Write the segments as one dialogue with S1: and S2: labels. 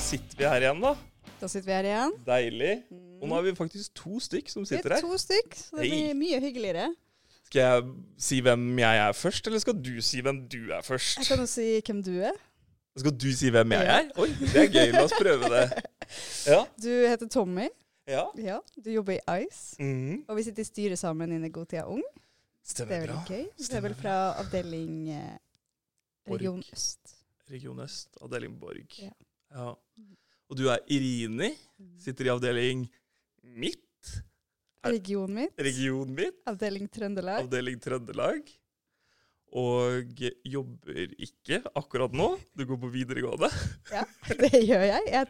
S1: sitter vi her igjen, da.
S2: Da sitter vi her igjen.
S1: Deilig. Og nå er vi faktisk to stykk som
S2: Vi
S1: sitter
S2: er
S1: her.
S2: to stykk, så det
S1: Hei.
S2: blir mye hyggeligere.
S1: Skal jeg si hvem jeg er først, eller skal du si hvem du er først?
S2: Jeg kan jo si hvem du er.
S1: Skal du si hvem jeg
S2: Ja.
S1: er? Oi, det er gøy. La oss prøve det. Ja.
S2: Du heter Tommy.
S1: ja.
S2: Ja, du jobber i Ice.
S1: Mm.
S2: Og vi sitter i styret sammen inne i Godtida Ung. Det
S1: Stemmer
S2: er
S1: bra.
S2: veldig gøy. Du er
S1: Stemmer
S2: vel fra avdeling eh, Region
S1: Org.
S2: Øst.
S1: Region Øst, avdeling Borg.
S2: Ja.
S1: Ja. Og du er Irini. Sitter i avdeling mitt. Er-
S2: Regionen min.
S1: Region mitt.
S2: Avdeling Trøndelag.
S1: avdeling Trøndelag. Og jobber ikke akkurat nå. Du går på videregående.
S2: Det gjør jeg. Jeg er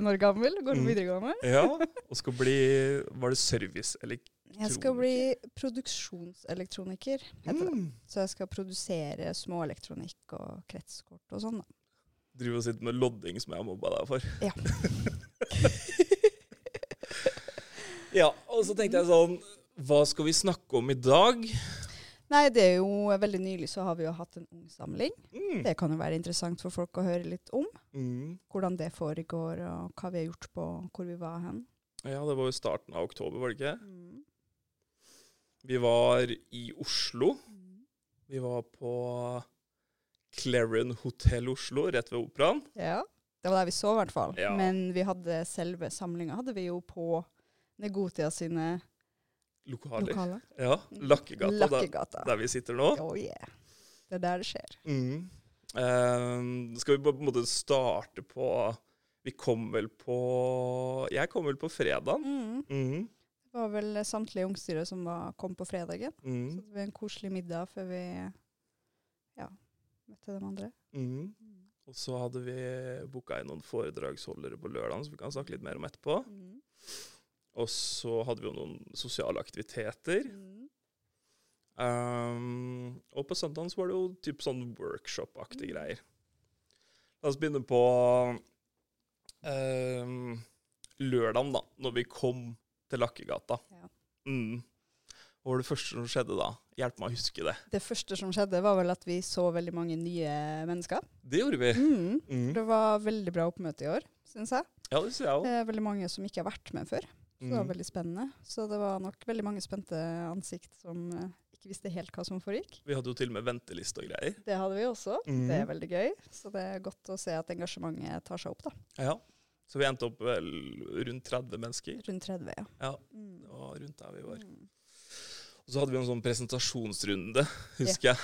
S2: 31 år gammel og går
S1: Mm.
S2: på videregående.
S1: Ja, Og skal bli Var det service eller
S2: Jeg skal bli produksjonselektroniker, heter det.
S1: mm.
S2: Så jeg skal produsere småelektronikk og kretskort og sånn, da.
S1: Driver og sitter med lodding, som jeg har mobba deg for.
S2: Ja.
S1: ja. Og så tenkte jeg sånn Hva skal vi snakke om i dag?
S2: Nei, det er jo eh, veldig nylig så har vi jo hatt en ungsamling.
S1: Mm.
S2: Det kan jo være interessant for folk å høre litt om.
S1: Mm.
S2: Hvordan det foregår, og hva vi har gjort på, hvor vi var hen.
S1: Ja, det var jo starten av oktober, var det ikke?
S2: Mm.
S1: Vi var i Oslo. Vi var på Clarion Hotel Oslo, rett ved Operaen.
S2: Ja. Det var der vi så, i hvert fall.
S1: Ja.
S2: Men vi hadde selve samlinga hadde vi jo på Negotia sine
S1: Lokaler.
S2: lokaler.
S1: Ja, Lakkegata, der,
S2: Lakkegata.
S1: der vi sitter nå.
S2: Oh yeah. Det er der det skjer.
S1: Mm. Eh, skal vi bare på en måte starte på Vi kom vel på Jeg kom vel på fredagen.
S2: Mm.
S1: Mm.
S2: Det var vel eh, samtlige ungstyre som var, kom på fredagen. Så
S1: Mm.
S2: det ble en koselig middag før vi ja, møtte de andre.
S1: Mm. Og så hadde vi booka inn noen foredragsholdere på lørdagen, som vi kan snakke litt mer om etterpå.
S2: Mm.
S1: Og så hadde vi jo noen sosiale aktiviteter.
S2: Mm.
S1: Ehm, og på søndagen så var det jo typ sånn workshop-aktige
S2: Mm.
S1: greier. La oss begynne på ehm, lørdagen, da, når vi kom til Lakkegata.
S2: Ja.
S1: Mm. Hva var det første som skjedde da? Hjelp meg å huske det.
S2: Det første som skjedde, var vel at vi så veldig mange nye mennesker.
S1: Det gjorde vi.
S2: Mm.
S1: Mm.
S2: Det var veldig bra oppmøte i år, syns jeg.
S1: Ja, det ser jeg
S2: Det
S1: òg.
S2: er veldig mange som ikke har vært med før. Så det var
S1: Mm.
S2: veldig spennende. Så det var nok veldig mange spente ansikt som eh, ikke visste helt hva som foregikk.
S1: Vi hadde jo til og med venteliste og greier.
S2: Det hadde vi også.
S1: Mm.
S2: Det er veldig gøy. Så det er godt å se at engasjementet tar seg opp, da.
S1: Ja. Så vi endte opp vel rundt 30 mennesker.
S2: Rundt 30, ja.
S1: Ja.
S2: Mm.
S1: Det var rundt der vi var.
S2: Mm.
S1: Og så hadde vi en sånn presentasjonsrunde, husker jeg.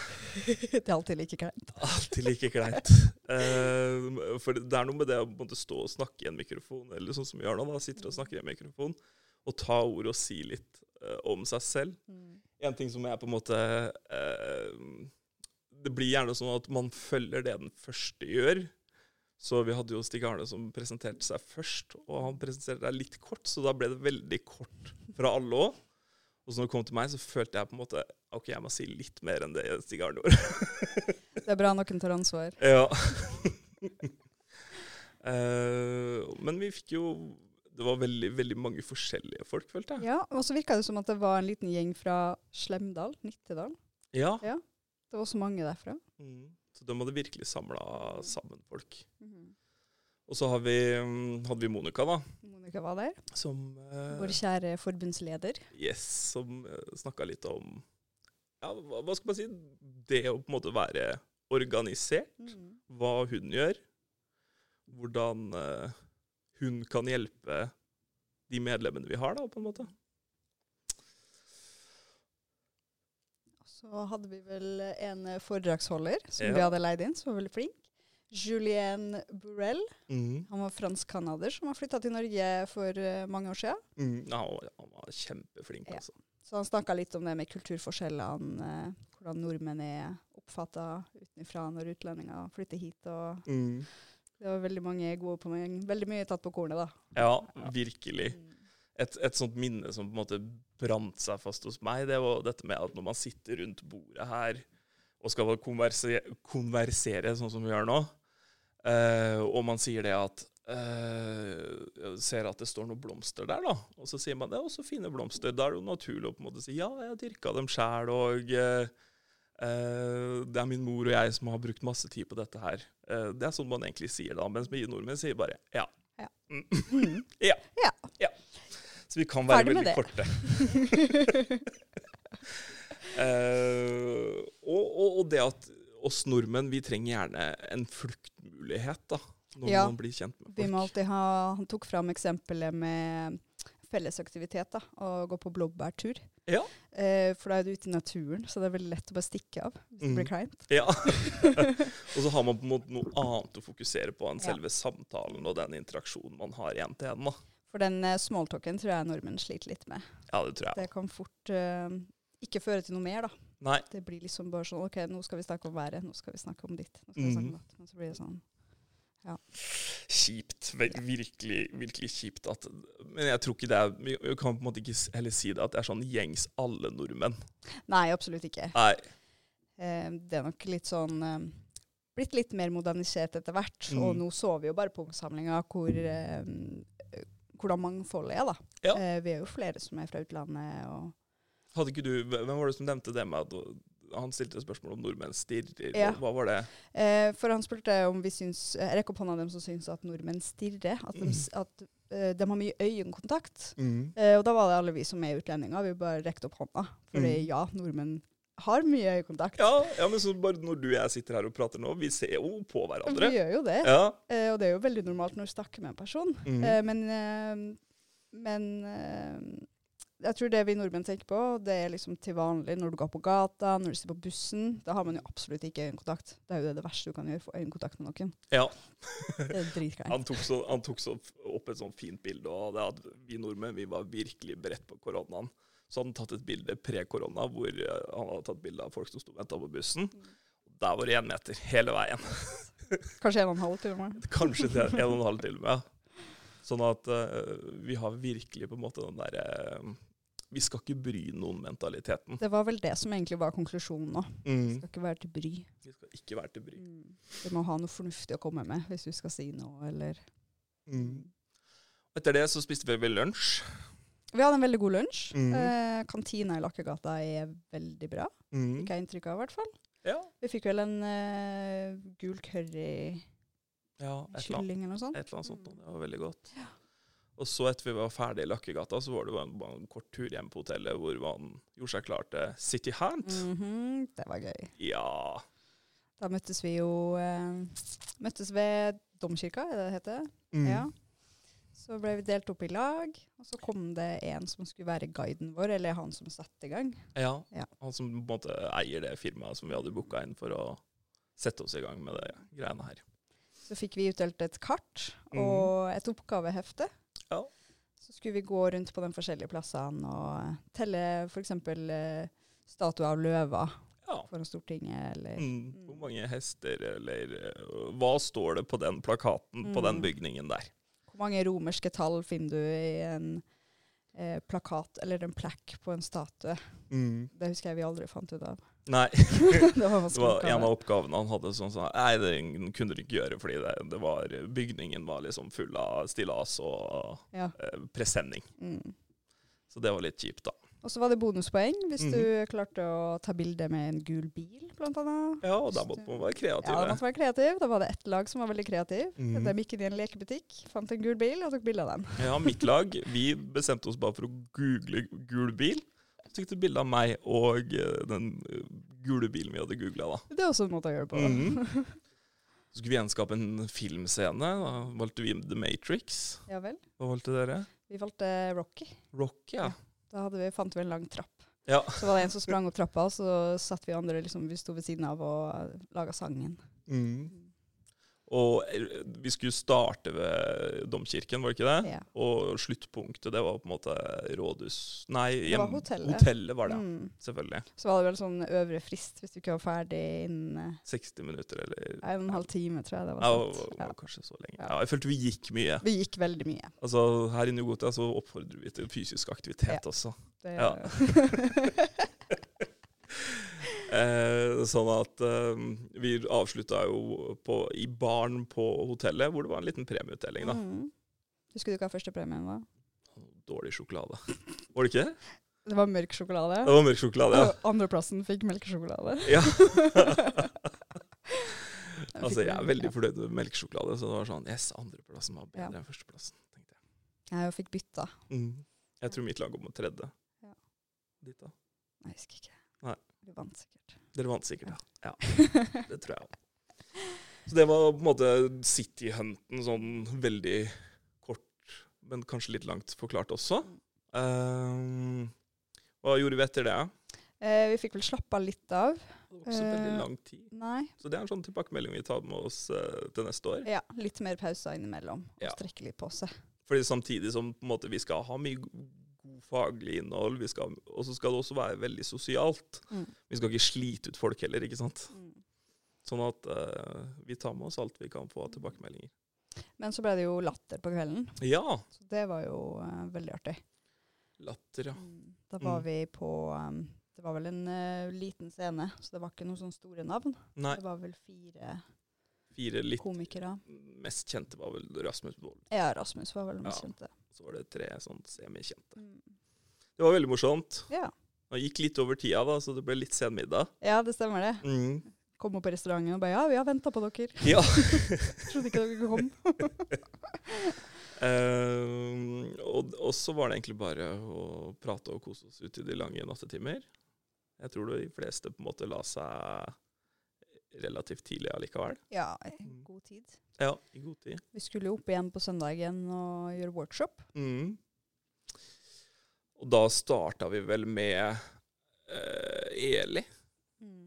S2: det er alltid like kleint.
S1: Alltid like kleint. Eh, for det er noe med det å på en måte stå og snakke i en mikrofon, eller sånn som vi gjør nå, da, sitter og snakker i en mikrofon, og ta ordet og si litt eh, om seg selv.
S2: Mm.
S1: En ting som er på en måte eh, Det blir gjerne sånn at man følger det den første gjør. Så vi hadde jo Stig Arne som presenterte seg først, og han presenterte seg litt kort, så da ble det veldig kort fra alle òg. Og så når det kom til meg, så følte jeg på en måte OK, jeg må si litt mer enn det Stig Arne gjorde.
S2: Det er bra noen tar ansvar.
S1: Ja. Eh, men vi fikk jo Det var veldig, veldig mange forskjellige folk, følte jeg.
S2: Ja, Og så virka det som at det var en liten gjeng fra Slemdal, Nittedal.
S1: Ja.
S2: Det var også mange derfra.
S1: Mm. Så de hadde virkelig samla sammen folk. Og så har vi, mm, hadde vi Monica, da,
S2: Monica var der.
S1: som eh,
S2: Vår kjære forbundsleder.
S1: yes, som eh, snakka litt om ja, hva, hva skal man si Det å på en måte være organisert.
S2: Mm.
S1: Hva hun gjør. Hvordan eh, hun kan hjelpe de medlemmene vi har, da, på en måte.
S2: Så hadde vi vel en eh, foredragsholder som
S1: Ja.
S2: vi hadde leid inn, som var veldig flink. Julien Burrell.
S1: Mm.
S2: Han var fransk-canadier som har flytta til Norge for eh, mange år siden.
S1: Mm, ja, han, var, han var kjempeflink,
S2: Ja.
S1: altså.
S2: Så han snakka litt om det med kulturforskjellene, eh, hvordan nordmenn er oppfatta utenfra når utlendinger flytter hit. og Det var veldig mange gode poeng. Veldig mye tatt på kornet, da.
S1: Ja, virkelig. Et, et sånt minne som på en måte brant seg fast hos meg, det var dette med at når man sitter rundt bordet her og skal bare konverse, konversere sånn som vi gjør nå, eh, og man sier det at eh, ser at det står noen blomster der, da. Og så sier man det er også fine blomster. Da er det jo naturlig å på en måte si ja, jeg dyrka dem sjæl, og eh, eh, det er min mor og jeg som har brukt masse tid på dette her. Eh, det er sånn man egentlig sier da, mens vi nordmenn sier bare ja.
S2: Ja.
S1: Mm.
S2: Mm.
S1: Ja.
S2: Ja.
S1: Så vi kan være
S2: Ferdig med
S1: veldig
S2: det.
S1: korte. Eh, og, og, og det at oss nordmenn, vi trenger gjerne en fluktmulighet da, når
S2: Ja.
S1: man blir kjent med folk.
S2: Vi må alltid ha Han tok fram eksempelet med fellesaktivitet, da, å gå på blåbærtur.
S1: Ja.
S2: Eh, for da er du ute i naturen, så det er veldig lett å bare stikke av hvis det
S1: Mm.
S2: blir kleint.
S1: Ja. og så har man på en måte noe annet å fokusere på enn
S2: Ja.
S1: selve samtalen og den interaksjonen man har en til en. da.
S2: For den eh, smalltalken tror jeg nordmenn sliter litt med.
S1: Ja, det tror jeg.
S2: Det kan fort eh, ikke føre til noe mer, da.
S1: Nei.
S2: Det blir liksom bare sånn OK, nå skal vi snakke om været, nå skal vi snakke om ditt, nå skal vi snakke om
S1: Mhm.
S2: datt. Men så blir det sånn
S1: Kjipt. Vel, virkelig, virkelig kjipt. At, men jeg tror ikke det er Vi vi kan på en måte ikke s- heller si det at det er sånn gjengs alle nordmenn.
S2: Nei, absolutt ikke.
S1: Nei.
S2: Eh, det er nok litt sånn eh, blitt litt mer modernisert etter hvert. Og
S1: Mm.
S2: nå så vi jo bare på omsamlinga hvor, eh, hvordan mangfoldet er, da.
S1: Ja.
S2: Eh, vi er jo flere som er fra utlandet. og
S1: Hadde ikke du Hvem var det som nevnte det med at han stilte spørsmål om nordmenn stirrer?
S2: Ja.
S1: og Hva var det?
S2: Eh, for han spurte om vi syns eh, Rekk opp hånda dem som syns at nordmenn stirrer. At de, s- at, eh, de har mye øyekontakt.
S1: Mm.
S2: Eh, og da var det alle vi som er utlendinger. Vi bare rekte opp hånda. For
S1: Mm.
S2: ja, nordmenn har mye øyekontakt.
S1: Ja, ja, men så bare når du og jeg sitter her og prater nå, vi ser jo på
S2: Vi
S1: hverandre.
S2: gjør jo det.
S1: Ja.
S2: Eh, og det er jo veldig normalt når du snakker med en person.
S1: Mm.
S2: Eh, men eh, men eh, jeg tror det vi nordmenn tenker på, det er liksom til vanlig når du går på gata, når du sitter på bussen. Da har man jo absolutt ikke øyekontakt. Det er jo det, det verste du kan gjøre, få øyekontakt med noen.
S1: Ja.
S2: Det er dritkleint.
S1: Han tok, så, han tok så f- opp et sånt fint bilde, og det at vi nordmenn vi var virkelig beredt på koronaen. Så hadde han tatt et bilde pre-korona hvor eh, han hadde tatt bilde av folk som sto og venta på bussen. Der var det én meter hele veien.
S2: Kanskje en og en halv til og med.
S1: Kanskje til en og en halv til og med. Sånn at eh, vi har virkelig på en måte den derre Vi skal ikke bry noen-mentaliteten.
S2: Det var vel det som egentlig var konklusjonen nå. Det skal ikke være til bry.
S1: Mm. Vi skal ikke være til bry.
S2: Du må ha noe fornuftig å komme med hvis du skal si noe, eller
S1: Mm. Etter det så spiste vi vel lunsj.
S2: Vi hadde en veldig god lunsj.
S1: Mm.
S2: Eh, kantina i Lakkegata er veldig bra, fikk jeg inntrykk av i hvert fall.
S1: Ja.
S2: Vi fikk vel en eh, gul curry-kylling
S1: ja, et eller annet.
S2: eller noe sånt.
S1: Et eller annet sånt.
S2: Mm.
S1: noe. Det var veldig godt. Og så etter vi var ferdig i Lakkegata, så var det bare en, bare en kort tur hjem på hotellet hvor man gjorde seg klar til City Hunt.
S2: Mhm, det var gøy.
S1: Ja.
S2: Da møttes vi jo eh, Møttes ved domkirka, er det det heter?
S1: Mm.
S2: Ja. Så ble vi delt opp i lag, og så kom det en som skulle være guiden vår, eller han som satte i gang.
S1: ja.
S2: Ja.
S1: Han som på en måte eier det firmaet som vi hadde booka inn for å sette oss i gang med det greiene her.
S2: Så fikk vi utdelt et kart
S1: Mhm.
S2: og et oppgavehefte.
S1: Ja.
S2: Så skulle vi gå rundt på de forskjellige plassene og telle f.eks. Eh, statuer av løver
S1: Ja.
S2: foran Stortinget, eller
S1: Mm. Hvor mange hester, eller øh, Hva står det på den plakaten på den
S2: Mm.
S1: bygningen der?
S2: Hvor mange romerske tall finner du i en eh, plakat eller en plekk på en statue? Det husker jeg vi aldri fant ut av.
S1: Nei.
S2: det var
S1: Det
S2: vanskelig
S1: var en
S2: oppgave.
S1: av oppgavene han hadde sånn sånn Nei, det kunne du ikke gjøre, fordi det, det var, bygningen var liksom full av stillas og
S2: Ja.
S1: eh, presenning.
S2: Mm.
S1: Så det var litt kjipt, da.
S2: Og så var det bonuspoeng hvis
S1: Mhm.
S2: du klarte å ta bilde med en gul bil, blant annet.
S1: Ja, og da måtte man være
S2: Ja, da
S1: kreative.
S2: måtte være kreativ. Da var det ett lag som var veldig kreativ.
S1: Mhm.
S2: De gikk inn i en lekebutikk, fant en gul bil og tok bilde av den.
S1: Ja, mitt lag, vi bestemte oss bare for å google gul bil. Så fikk du bilde av meg og eh, den eh, gule bilen vi hadde googla, da.
S2: Det er også en måte å gjøre det på.
S1: Mhm. Så skulle vi gjenskape en filmscene. Da valgte vi The Matrix.
S2: Ja vel.
S1: Hva valgte dere?
S2: Vi valgte Rocky.
S1: Rock, ja.
S2: Da hadde vi, fant vi en lang trapp.
S1: Ja.
S2: Så var det en som sprang opp trappa, og så satt vi andre liksom, vi sto ved siden av og laga sangen.
S1: Mm. Og eh, vi skulle starte ved domkirken, var det ikke det?
S2: Ja.
S1: Og sluttpunktet, det var på en måte rådhus... Nei,
S2: Det var
S1: hjem-
S2: hotellet.
S1: hotellet var det,
S2: Mm.
S1: selvfølgelig.
S2: Så var det vel sånn øvre frist hvis du ikke var ferdig innen eh,
S1: 60 minutter eller
S2: en og en halv time, tror jeg det
S1: ja,
S2: var.
S1: det
S2: sant.
S1: var
S2: Ja.
S1: Kanskje så lenge.
S2: Ja.
S1: Ja, jeg følte vi gikk mye.
S2: Vi gikk veldig mye.
S1: Altså, Her i Nugota så oppfordrer vi til fysisk aktivitet også.
S2: Det,
S1: Ja. Eh, sånn at eh, vi avslutta jo på, i baren på hotellet, hvor det var en liten premieutdeling. da.
S2: Mm. Husker du hva førstepremien var? Mm.
S1: Dårlig sjokolade. Var det ikke det?
S2: Det var mørk sjokolade.
S1: Det var mørk sjokolade, ja.
S2: Og andreplassen fikk melkesjokolade.
S1: Ja.
S2: Men Men
S1: Altså,
S2: fikk
S1: jeg er
S2: den, ja.
S1: veldig fornøyd med melkesjokolade, så det var sånn Yes, andreplassen var bedre
S2: Ja.
S1: enn førsteplassen, tenkte jeg.
S2: Jeg fikk bytta.
S1: Mm. Jeg tror mitt lag går mot tredje.
S2: Ja.
S1: Ditt, da?
S2: Nei, jeg husker ikke.
S1: Nei.
S2: Du vant sikkert.
S1: Dere vant sikkert, ja. ja. Det tror jeg òg. Så det var på en måte City Hunten sånn veldig kort, men kanskje litt langt forklart også. Ehm, hva gjorde vi etter det?
S2: Eh, vi fikk vel slappa litt av.
S1: Det var ikke så veldig
S2: Eh.
S1: lang tid.
S2: Nei.
S1: Så det er en sånn tilbakemelding vi tar med oss eh, til neste år.
S2: Ja, litt mer pauser innimellom. Og
S1: Ja.
S2: strekke litt på seg.
S1: Fordi samtidig som på en måte, vi skal ha mye go- god faglig innhold, vi skal, og så skal det også være veldig sosialt.
S2: Mm.
S1: Vi skal ikke slite ut folk heller, ikke sant? Sånn at eh, vi tar med oss alt vi kan få av tilbakemeldinger.
S2: Men så ble det jo latter på kvelden,
S1: Ja!
S2: så det var jo eh, veldig artig.
S1: Latter, ja.
S2: Mm. Da var
S1: Mm.
S2: vi på um, Det var vel en eh, liten scene, så det var ikke noen sånne store navn.
S1: Nei,
S2: Det var vel fire
S1: fire litt
S2: komikere.
S1: mest kjente var vel Rasmus Wold.
S2: Ja, Rasmus var vel den mest
S1: Ja.
S2: kjente.
S1: Så var det tre sånn semikjente.
S2: Mm.
S1: Det var veldig morsomt.
S2: Ja.
S1: Det gikk litt over tida, da, så det ble litt senmiddag.
S2: ja, det stemmer det.
S1: Mm.
S2: Kom opp på restauranten og bare Ja, vi har venta på dere.
S1: Ja.
S2: Trodde ikke dere kom.
S1: Ehm, og, og så var det egentlig bare å prate og kose oss ut i de lange nattetimer. Jeg tror de fleste på en måte la seg relativt tidlig allikevel.
S2: Ja,
S1: Mm.
S2: god tid.
S1: Ja, i god tid.
S2: Vi skulle jo opp igjen på søndagen og gjøre workshop.
S1: Mm. Og da starta vi vel med eh, Eli,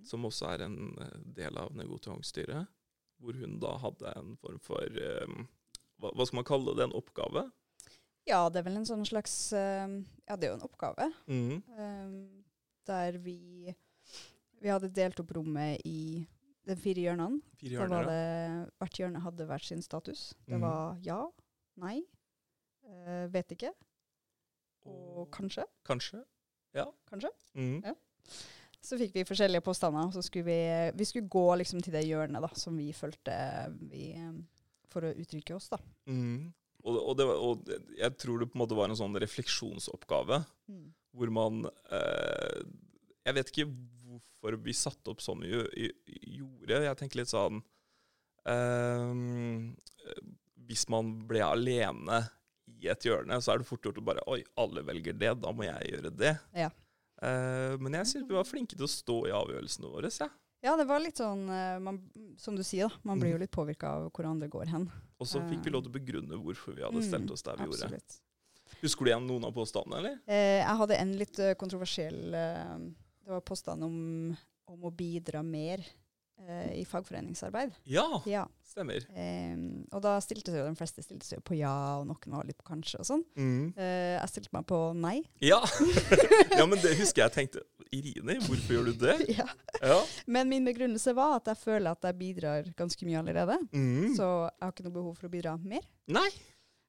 S1: som også er en eh, del av Negotiangstyret, hvor hun da hadde en form for eh, hva, hva skal man kalle det? En oppgave?
S2: Ja, det er vel en sånn slags eh, Ja, det er jo en oppgave.
S1: Mm.
S2: Ehm, der vi Vi hadde delt opp rommet i de fire hjørnene.
S1: Fire
S2: Da var
S1: hjørner, da.
S2: det, hvert hjørne hadde hvert sin status. Det
S1: Mhm.
S2: var ja, nei, eh, vet ikke og
S1: Og
S2: kanskje.
S1: kanskje? Ja.
S2: Kanskje?
S1: Mm.
S2: Så fikk vi forskjellige påstander, og så skulle vi, vi skulle gå liksom til det hjørnet da, som vi følte vi eh, For å uttrykke oss, da.
S1: Mm. Og, og, det, var- og jeg tror det på en måte var en sånn refleksjonsoppgave, hvor man eh, Jeg vet ikke hvorfor vi satte opp sånn vi gjø- i- gjorde. Jeg tenker litt sånn eh, Hvis man ble alene i et hjørne, så er det fort gjort å bare Oi, alle velger det, da må jeg gjøre det.
S2: Ja.
S1: Eh, men jeg syns vi var flinke til å stå i avgjørelsene våre, jeg.
S2: Ja, det var litt sånn eh, man, Som du sier, da. Man blir
S1: Mhm.
S2: jo litt påvirka av hvor andre går hen.
S1: Og så fikk vi
S2: Eh.
S1: lov til å begrunne hvorfor vi hadde stelt oss der vi gjorde.
S2: Mm, Absolutt.
S1: Husker du igjen noen av påstandene, eller?
S2: Eh, jeg hadde en litt eh, kontroversiell eh, Det var påstand om, om å bidra mer eh, i fagforeningsarbeid.
S1: Ja,
S2: Ja.
S1: stemmer.
S2: Eh, og da stilte seg jo de fleste stilte seg jo på ja, og noen var litt på kanskje og sånn.
S1: Mm.
S2: Eh, jeg stilte meg på nei.
S1: Ja. ja, men det husker jeg tenkte. Irine, hvorfor gjør du det?
S2: ja.
S1: Ja.
S2: Men min begrunnelse var at jeg føler at jeg bidrar ganske mye allerede.
S1: Mm.
S2: Så jeg har ikke noe behov for å bidra mer.
S1: Nei.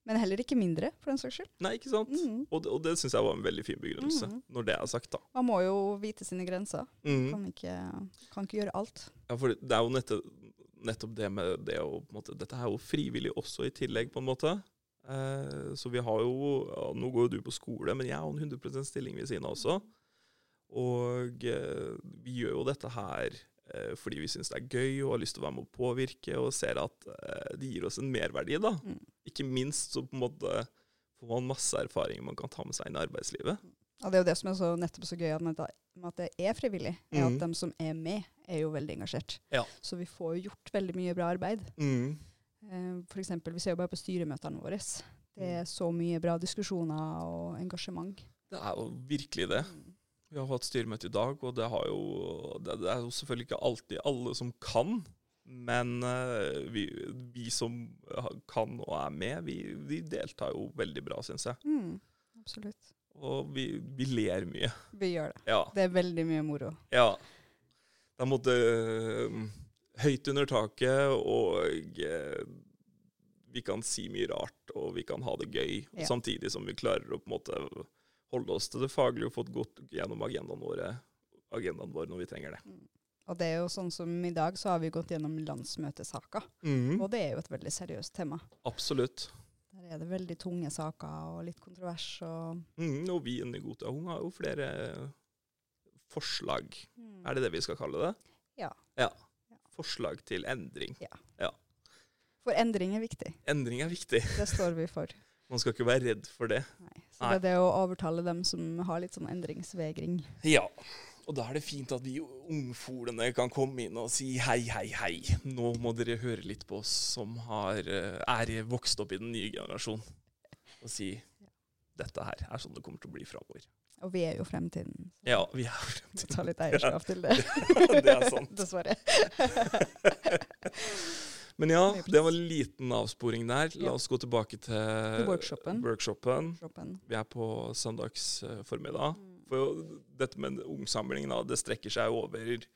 S2: Men heller ikke mindre, for den saks skyld.
S1: Nei, ikke sant?
S2: Mhm.
S1: Og det, og det syns jeg var en veldig fin begrunnelse,
S2: Mhm.
S1: når det er sagt, da.
S2: Man må jo vite sine grenser.
S1: Mm.
S2: Kan ikke, kan ikke gjøre alt.
S1: Ja, for det er jo nettopp, nettopp det med det å på en måte, Dette er jo frivillig også i tillegg, på en måte. Eh, så vi har jo ja, Nå går jo du på skole, men jeg har en 100 stilling ved siden av også. Og eh, vi gjør jo dette her eh, fordi vi syns det er gøy og har lyst til å være med å påvirke, og ser at eh, det gir oss en merverdi, da.
S2: Mm.
S1: Ikke minst så på en måte får man masse erfaringer man kan ta med seg inn i arbeidslivet.
S2: Ja, det er jo det som er så, nettopp så gøy at med at med at det er frivillig, er
S1: Mhm.
S2: at de som er med, er jo veldig engasjert.
S1: Ja.
S2: Så vi får jo gjort veldig mye bra arbeid. Eh, for eksempel, vi ser jo bare på styremøtene våre. Det er så mye bra diskusjoner og engasjement.
S1: Det er jo virkelig det.
S2: Mm.
S1: Vi har hatt styremøte i dag, og det, har jo, det, det er jo selvfølgelig ikke alltid alle som kan. Men eh, vi, vi som ha- kan og er med, vi, vi deltar jo veldig bra, syns jeg.
S2: Mm. Absolutt.
S1: Og vi, vi ler mye.
S2: Vi gjør det.
S1: Ja.
S2: Det er veldig mye moro.
S1: ja. Det er på en måte eh, høyt under taket, og eh, vi kan si mye rart, og vi kan ha det gøy.
S2: Ja.
S1: Samtidig som vi klarer å på en måte holde oss til det faglige og fått gått gjennom agendaen våre, agendaen vår når vi trenger det.
S2: Og det er jo sånn som i dag, så har vi gått gjennom landsmøtesaka.
S1: Mm.
S2: Og det er jo et veldig seriøst tema.
S1: Absolutt.
S2: Der er det veldig tunge saker og litt kontrovers og
S1: Mm, og vi i Negotia Ung har jo
S2: Mm.
S1: flere forslag, er det det vi skal kalle det?
S2: Ja.
S1: ja. forslag til endring.
S2: For endring er viktig.
S1: Endring er viktig.
S2: Det står vi for.
S1: Man skal ikke være redd for det.
S2: Nei. Så det er det å overtale dem som har litt sånn endringsvegring.
S1: Ja. Og da er det fint at vi ungfolene kan komme inn og si hei, hei, hei. Nå må dere høre litt på oss som har, eh, er vokst opp i den nye generasjonen, og si dette her er sånn det kommer til å bli framover.
S2: Og vi er jo fremtiden.
S1: Ja, vi er
S2: Så
S1: fremtiden.
S2: ta litt eierskap til det.
S1: Det er sant.
S2: Dessverre.
S1: Men ja, det var en liten avsporing der. La oss gå tilbake til
S2: Til workshopen.
S1: workshopen.
S2: Kroppen.
S1: Vi er på søndags eh, formiddag.
S2: Mm.
S1: For jo, dette med ungsamlingen, da, det strekker seg jo over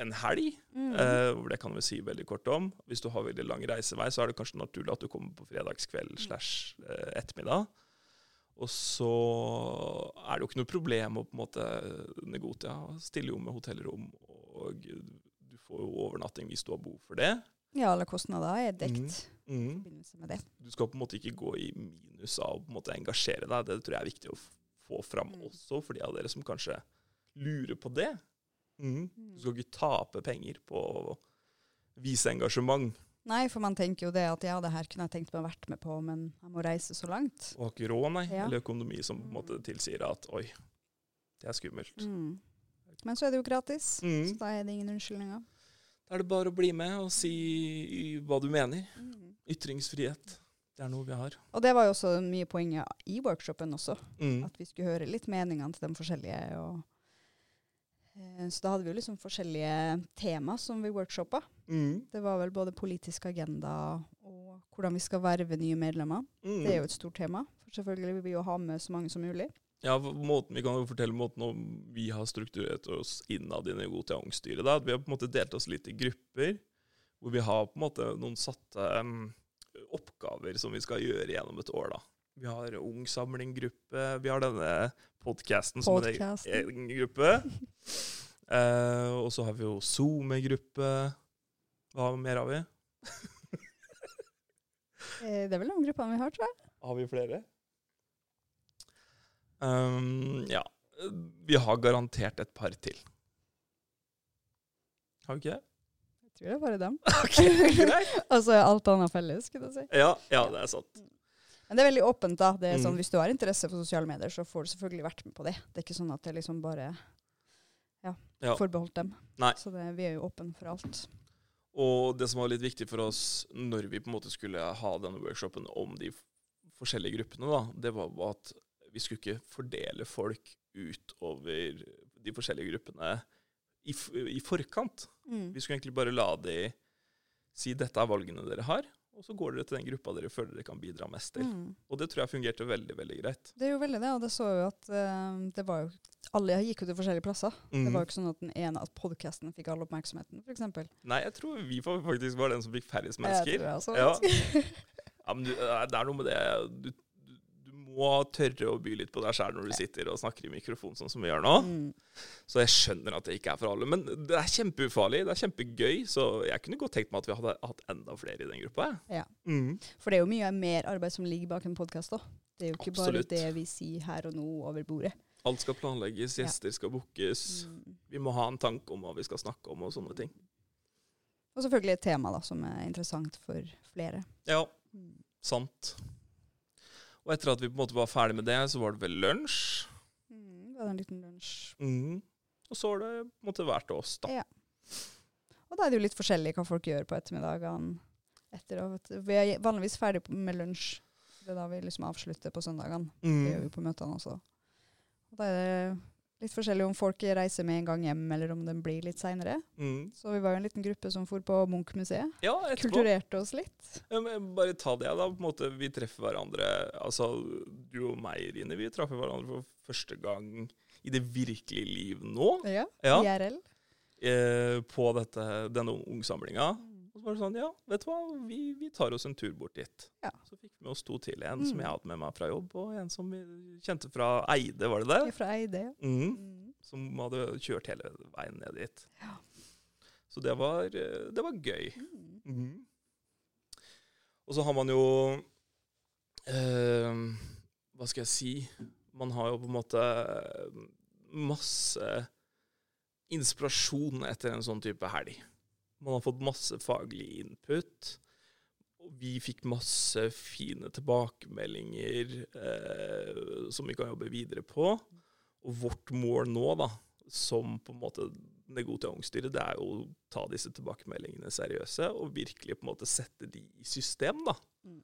S1: en helg.
S2: Mm.
S1: Eh, hvor det kan vi si veldig kort om. Hvis du har veldig lang reisevei, så er det kanskje naturlig at du kommer på fredagskveld slash eh, ettermiddag. Og så er det jo ikke noe problem å på en måte Negotia stiller jo med hotellrom, og du får jo overnatting hvis du har behov for det.
S2: Ja, alle kostnader er
S1: Mm.
S2: dekt i
S1: Mm.
S2: forbindelse med det.
S1: Du skal på en måte ikke gå i minus av å på en måte engasjere deg. Det tror jeg er viktig å f- få fram
S2: Mm.
S1: også for de av dere som kanskje lurer på det. Mm. Du
S2: Mm.
S1: skal ikke tape penger på å vise engasjement.
S2: Nei, for man tenker jo det at ja, det her kunne jeg tenkt meg å vært med på, men jeg må reise så langt.
S1: og har ikke råd, nei.
S2: Ja.
S1: Eller økonomi som på en måte
S2: Mm.
S1: tilsier at oi, det er skummelt.
S2: Mm. Men så er det jo gratis,
S1: Mm.
S2: så da er det ingen unnskyldninger.
S1: Da er det bare å bli med og si hva du mener.
S2: Mm.
S1: Ytringsfrihet. Det er noe vi har.
S2: Og det var jo også mye poenget i workshopen også,
S1: Mm.
S2: at vi skulle høre litt meningene til de forskjellige. Og, eh, så da hadde vi jo liksom forskjellige tema som vi workshoppa.
S1: Mm.
S2: Det var vel både politisk agenda og hvordan vi skal verve nye medlemmer.
S1: Mm.
S2: Det er jo et stort tema, for selvfølgelig vil vi jo ha med så mange som mulig.
S1: Ja, for måten, vi kan jo fortelle måten om vi har strukturert oss innad i Negotia-ungstyret. da, at Vi har på en måte delt oss litt i grupper, hvor vi har på en måte noen satte mm, oppgaver som vi skal gjøre gjennom et år. da. Vi har Ung Samling-gruppe, vi har denne podcasten som en egen-
S2: Podcasten.
S1: egen gruppe. Eh, og så har vi jo SoMe-gruppe. Hva mer har vi?
S2: Eh, Det er vel de gruppene vi har, tror jeg.
S1: Har vi flere? Um, ja. Vi har garantert et par til. Har vi ikke det?
S2: Jeg tror det er bare dem.
S1: Ok, greit.
S2: Altså alt annet felles, skulle jeg si.
S1: Ja, ja, det er sant.
S2: Men det er veldig åpent, da. Det er sånn,
S1: Mm.
S2: Hvis du har interesse for sosiale medier, så får du selvfølgelig vært med på det. Det er ikke sånn at det liksom bare ja,
S1: Ja.
S2: forbeholdt dem.
S1: Nei.
S2: Så det, vi er jo åpne for alt.
S1: Og det som var litt viktig for oss når vi på en måte skulle ha denne workshopen om de f- forskjellige gruppene, da, det var jo at vi skulle ikke fordele folk utover de forskjellige gruppene i, f i forkant.
S2: Mm.
S1: Vi skulle egentlig bare la de si dette er valgene dere har, og så går dere til den gruppa dere føler dere kan bidra mest til.
S2: Mm.
S1: Og det tror jeg fungerte veldig, veldig greit.
S2: Det er jo veldig det, og det så jo at eh, det var jo Alle gikk jo til forskjellige plasser.
S1: Mm.
S2: Det var jo ikke sånn at den ene at podkasten fikk all oppmerksomheten, f.eks.
S1: Nei, jeg tror vi fa- faktisk var den som fikk færrest
S2: Jeg
S1: mennesker.
S2: tror jeg
S1: Ja.
S2: også.
S1: Ja, men du, det er noe med det du, du, du må tørre å by litt på deg sjæl når du sitter og snakker i mikrofon, sånn som vi gjør nå.
S2: Mm.
S1: Så jeg skjønner at det ikke er for alle. Men det er kjempeufarlig, det er kjempegøy, så jeg kunne godt tenkt meg at vi hadde hatt enda flere i den gruppa. jeg.
S2: Ja.
S1: Mm.
S2: For det er jo mye mer arbeid som ligger bak en podkast òg. Det er jo ikke
S1: Absolutt.
S2: bare det vi sier her og nå over bordet.
S1: Alt skal planlegges,
S2: Ja.
S1: gjester skal bookes.
S2: Mm.
S1: Vi må ha en tanke om hva vi skal snakke om, og sånne ting.
S2: Og selvfølgelig et tema da, som er interessant for flere.
S1: Ja,
S2: Mm.
S1: sant. Og etter at vi på en måte var ferdig med det, så var det vel lunsj.
S2: Mm, vi hadde en liten lunsj.
S1: Mm. Og så har det på en måte vært til oss, da.
S2: Og da er det jo litt forskjellig hva folk gjør på ettermiddagene. Etter å, vi er vanligvis ferdig på- med lunsj. Det er da vi liksom avslutter på søndagene. Det gjør vi
S1: Mm.
S2: på møtene også. Og da er det litt forskjellig om folk reiser med en gang hjem, eller om den blir litt seinere.
S1: Mm.
S2: Så vi var jo en liten gruppe som for på Munch-museet.
S1: Ja, etterpå.
S2: Kulturerte oss litt.
S1: Ja, men eh, bare ta det, da. på en måte Vi treffer hverandre Altså, du og meg, Rine, vi traff hverandre for første gang i det virkelige liv nå.
S2: Ja,
S1: Ja,
S2: IRL.
S1: eh, På dette, denne ungsamlinga. Og så var det sånn, ja, vet du hva, vi, vi tar oss en tur bort dit.
S2: Ja.
S1: Så fikk vi med oss to til. En
S2: Mm.
S1: som jeg hadde med meg fra jobb, og en som vi kjente fra Eide, var det det?
S2: Fra Eide.
S1: Mm.
S2: Mm.
S1: Som hadde kjørt hele veien ned dit. Så det var, eh, det var gøy.
S2: Mm.
S1: Og så har man jo eh, Hva skal jeg si Man har jo på en måte eh, masse inspirasjon etter en sånn type helg. Man har fått masse faglig input. Og vi fikk masse fine tilbakemeldinger eh, som vi kan jobbe videre på. Og vårt mål nå, da, som på en måte Negotiangstyret, det er jo å ta disse tilbakemeldingene seriøse og virkelig på en måte sette de i system, da.
S2: Mm.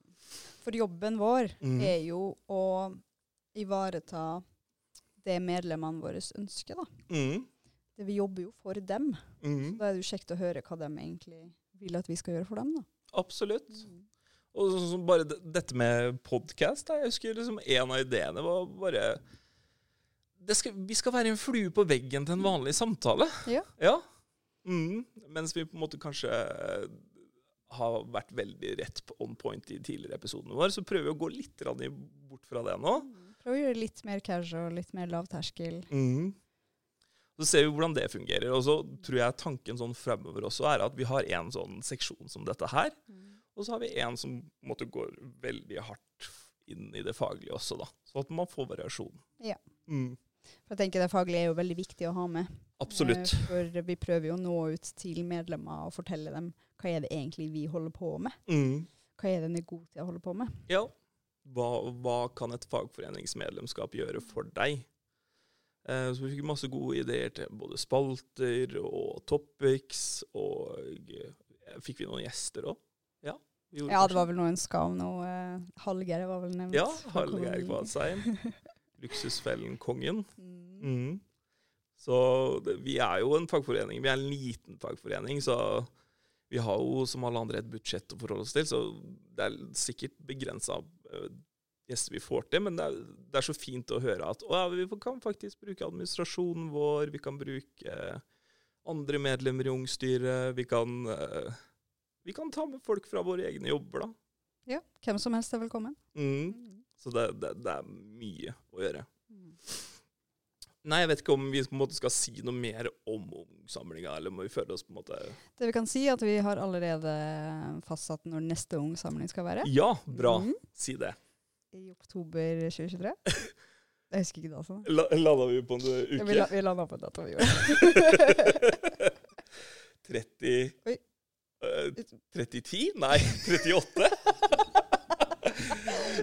S2: For jobben vår
S1: Mm.
S2: er jo å ivareta det medlemmene våre ønsker, da.
S1: Mm.
S2: Det vi jobber jo for dem.
S1: Mm.
S2: Da er det jo kjekt å høre hva de egentlig vil at vi skal gjøre for dem, da.
S1: Absolutt. Og sånn som bare det- dette med podkast Jeg husker liksom en av ideene var bare det skal, Vi skal være en flue på veggen til en vanlig samtale.
S2: Ja.
S1: Mm. Mens vi på en måte kanskje eh, har vært veldig rett på- on point i tidligere episodene våre, så prøver vi å gå litt grann i- bort fra det nå.
S2: Prøv å gjøre det litt mer casual, litt mer lavterskel.
S1: Mm. Så ser vi hvordan det fungerer. Og så tror jeg tanken sånn fremover også er at vi har en sånn seksjon som dette her.
S2: Mm.
S1: Og så har vi en som på en måte, går veldig hardt inn i det faglige også, da. Så at man får variasjon.
S2: Ja.
S1: Mm.
S2: For jeg tenker Det faglige er jo veldig viktig å ha med.
S1: Absolutt.
S2: Eh, For vi prøver jo å nå ut til medlemmer og fortelle dem hva er det egentlig vi holder på med.
S1: Mm.
S2: Hva er det Negotia holder på med.
S1: Ja. Hva, hva kan et fagforeningsmedlemskap gjøre for deg? Eh, så vi fikk masse gode ideer til både spalter og topics, og eh, fikk vi noen gjester òg? Ja, vi gjorde
S2: Ja,
S1: kanskje
S2: det var vel noe en skam nå. Eh, Hallgeir var vel nevnt.
S1: Ja,
S2: fra
S1: Hallgeir
S2: kolonien.
S1: Kvadsheim. Luksusfellen Kongen.
S2: Mm.
S1: Mm. Så det, vi er jo en fagforening. Vi er en liten fagforening, så vi har jo som alle andre et budsjett å forholde oss til. Så det er sikkert begrensa gjester vi får til, men det er, det er så fint å høre at å, ja, vi får- kan faktisk bruke administrasjonen vår, vi kan bruke eh, andre medlemmer i ungstyret, vi kan eh, vi kan ta med folk fra våre egne jobber, da.
S2: Ja, hvem som helst er velkommen.
S1: Mm. Så det, det, det er mye å gjøre. Nei, jeg vet ikke om vi på en måte skal si noe mer om ungsamlinga, eller må vi føle oss på en måte
S2: Det vi kan si, er at vi har allerede fastsatt når neste Ung Samling skal være.
S1: Ja, bra!
S2: Mm.
S1: Si det.
S2: I oktober 2023. Jeg husker ikke datoen.
S1: La, lada vi på en
S2: Ja,
S1: uke?
S2: Vi, la, vi landa på dato, vi gjorde.
S1: 30
S2: Oi.
S1: eh, 3010? Nei, 38?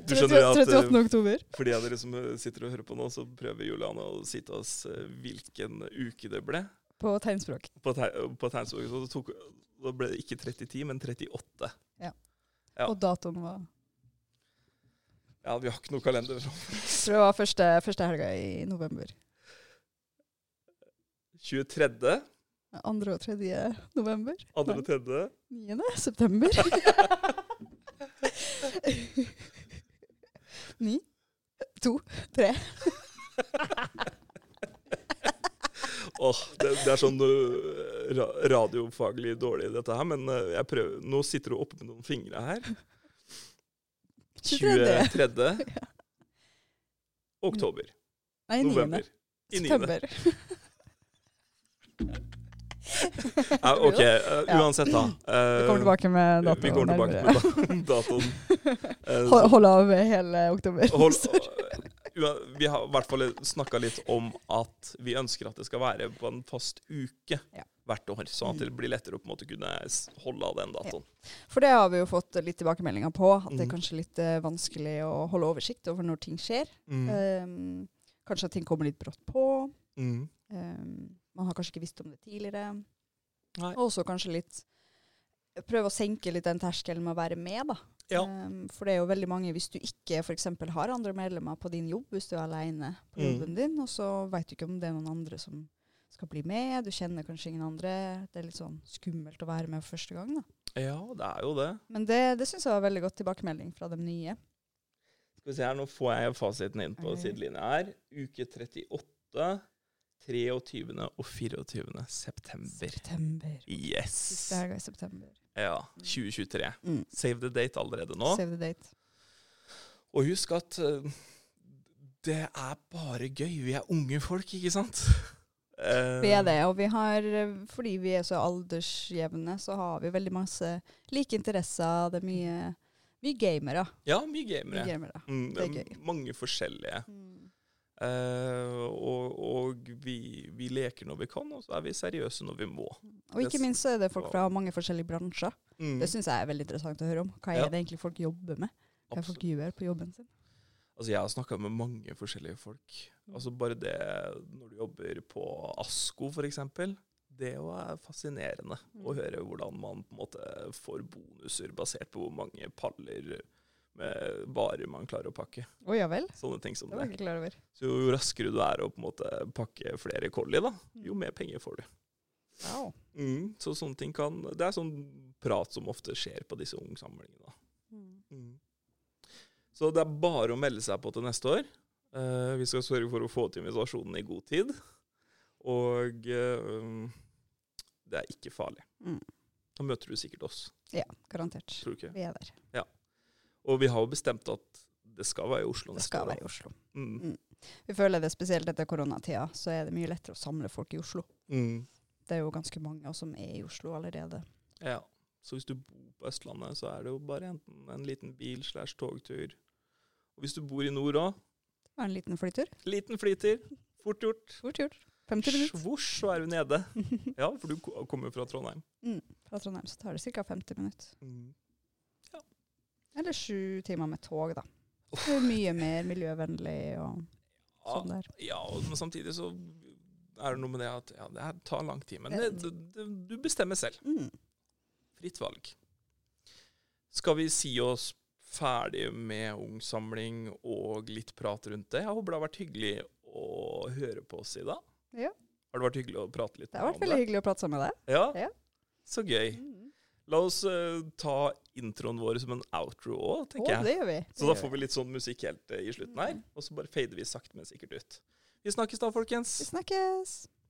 S1: Du skjønner at
S2: 38.
S1: eh,
S2: oktober.
S1: for de av dere som eh, sitter og hører på nå, så prøver Juliane å si til oss eh, hvilken uke det ble.
S2: På tegnspråk.
S1: På, teg på tegnspråket så det tok, da ble det ikke 3010, men 38. Ja.
S2: Og datoen var
S1: Ja, vi har ikke noe kalender. fra
S2: Tror jeg var første, første helga i november.
S1: 23.,
S2: Andre og tredje november.
S1: 2. og 3.
S2: 9. september. Ni, to, tre.
S1: Åh, det, det er sånn øh, ra radiofaglig dårlig dette her, men øh, jeg prøver. Nå sitter du oppe med noen fingre her.
S2: 23..
S1: 23. Oktober.
S2: Nei, niende.
S1: November. I niende.
S2: September.
S1: Ja, ok, øh,
S2: Ja.
S1: uansett da. Øh,
S2: Vi kommer tilbake med datoen.
S1: Vi kommer tilbake
S2: nærmere.
S1: med da- datoen. Eh,
S2: Hold,
S1: så-
S2: hold av hele oktober.
S1: Hold, Ua- vi har i hvert fall snakka litt om at vi ønsker at det skal være på en fast uke
S2: Ja. Mm.
S1: hvert år, sånn at det blir lettere å på en måte kunne s- holde av den datoen.
S2: For det har vi jo fått litt tilbakemeldinger på, at det er
S1: Mm.
S2: kanskje litt eh, vanskelig å holde oversikt over når ting skjer. Um, kanskje at ting kommer litt brått på.
S1: Mm.
S2: Um, man har kanskje ikke visst om det tidligere.
S1: Nei.
S2: Og også kanskje litt Prøve å senke litt den terskelen med å være med, da.
S1: Ja.
S2: Um, for det er jo veldig mange, hvis du ikke f.eks. har andre medlemmer på din jobb, hvis du er aleine på
S1: Mm.
S2: jobben din, og så veit du ikke om det er noen andre som skal bli med, du kjenner kanskje ingen andre, det er litt sånn skummelt å være med for første gang, da.
S1: Ja, det er jo det.
S2: Men det, det syns jeg var veldig godt tilbakemelding fra de nye.
S1: Skal vi se her, Nå får jeg fasiten inn på
S2: Ok.
S1: sidelinja her. Uke 38, 23. og 24. september.
S2: September.
S1: Yes!
S2: Siste helga i september.
S1: Ja, 2023.
S2: Mm.
S1: Save the date allerede nå.
S2: Save the date.
S1: Og husk at eh, det er bare gøy. Vi er unge folk, ikke sant? Eh,
S2: Vi er det, og vi har, eh, fordi vi er så aldersjevne, så har vi veldig masse like interesser. Det er mye, mye gamere.
S1: Eh, Ja, mye
S2: Mye
S1: gamere.
S2: gamere.
S1: Mm,
S2: Det er
S1: mange forskjellige.
S2: Mm.
S1: Eh, Eh, og og vi, vi leker når vi kan, og så er vi seriøse når vi må.
S2: Og ikke
S1: Det s-
S2: minst så er det folk fra mange forskjellige bransjer.
S1: Mm,
S2: Det syns jeg er veldig interessant å høre om. Hva er
S1: Ja.
S2: det egentlig folk jobber med? Hva er det
S1: absolutt.
S2: folk gjør på jobben sin?
S1: Altså, jeg har snakka med mange forskjellige folk. Altså Bare det når du jobber på ASKO, f.eks. Det jo er fascinerende
S2: Mm.
S1: å høre hvordan man på en måte får bonuser basert på hvor mange paller med varer man klarer å pakke.
S2: Å ja vel?
S1: Sånne ting som
S2: Det var jeg
S1: det.
S2: ikke klar over.
S1: Så jo raskere du er å på en måte pakke flere kolli, da, jo mer penger får du.
S2: Mm. Wow.
S1: Mm, så sånne ting kan Det er sånn prat som ofte skjer på disse ungsamlingene. da. Mm. Så det er bare å melde seg på til neste år. Eh, vi skal sørge for å få til invitasjonen i god tid. Og eh, det er ikke farlig.
S2: Mm.
S1: Da møter du sikkert oss,
S2: Ja, garantert.
S1: tror du ikke?
S2: Vi er der.
S1: Og vi har jo bestemt at det skal være i Oslo
S2: Det
S1: neste
S2: skal
S1: år.
S2: være i Oslo.
S1: da. Mm.
S2: Vi føler det spesielt etter koronatida, så er det mye lettere å samle folk i Oslo.
S1: Mm.
S2: Det er jo ganske mange av oss som er i Oslo allerede.
S1: Ja. Så hvis du bor på Østlandet, så er det jo bare enten en liten bil slash togtur. Og hvis du bor i nord òg,
S2: Det var en liten flytur.
S1: liten flytur. Fort gjort.
S2: Fort gjort. 50 minutter.
S1: Svosj, så er du nede. Ja, for du ko- kommer jo fra Trondheim.
S2: Fra Trondheim så tar det ca. 50 minutter. Eller sju timer med tog, da. Det er mye mer miljøvennlig og
S1: Ja,
S2: sånn der.
S1: ja, og- men samtidig så er det noe med det at ja, det her tar lang tid. Men det, det, det, du bestemmer selv.
S2: Mm.
S1: Fritt valg. Skal vi si oss ferdig med ungsamling og litt prat rundt det? Jeg håper det har vært hyggelig å høre på oss i dag.
S2: Ja.
S1: Har det vært hyggelig å prate litt
S2: Det har vært veldig hyggelig å prate sammen med deg.
S1: Ja?
S2: Ja.
S1: Så gøy. La oss eh, ta introen vår som en outro òg,
S2: Og
S1: tenker jeg.
S2: det gjør vi.
S1: Så da får vi litt sånn musikk helt eh, i slutten her,
S2: Mm.
S1: og så bare fader vi sakte, men sikkert ut. Vi snakkes da, folkens.
S2: Vi snakkes!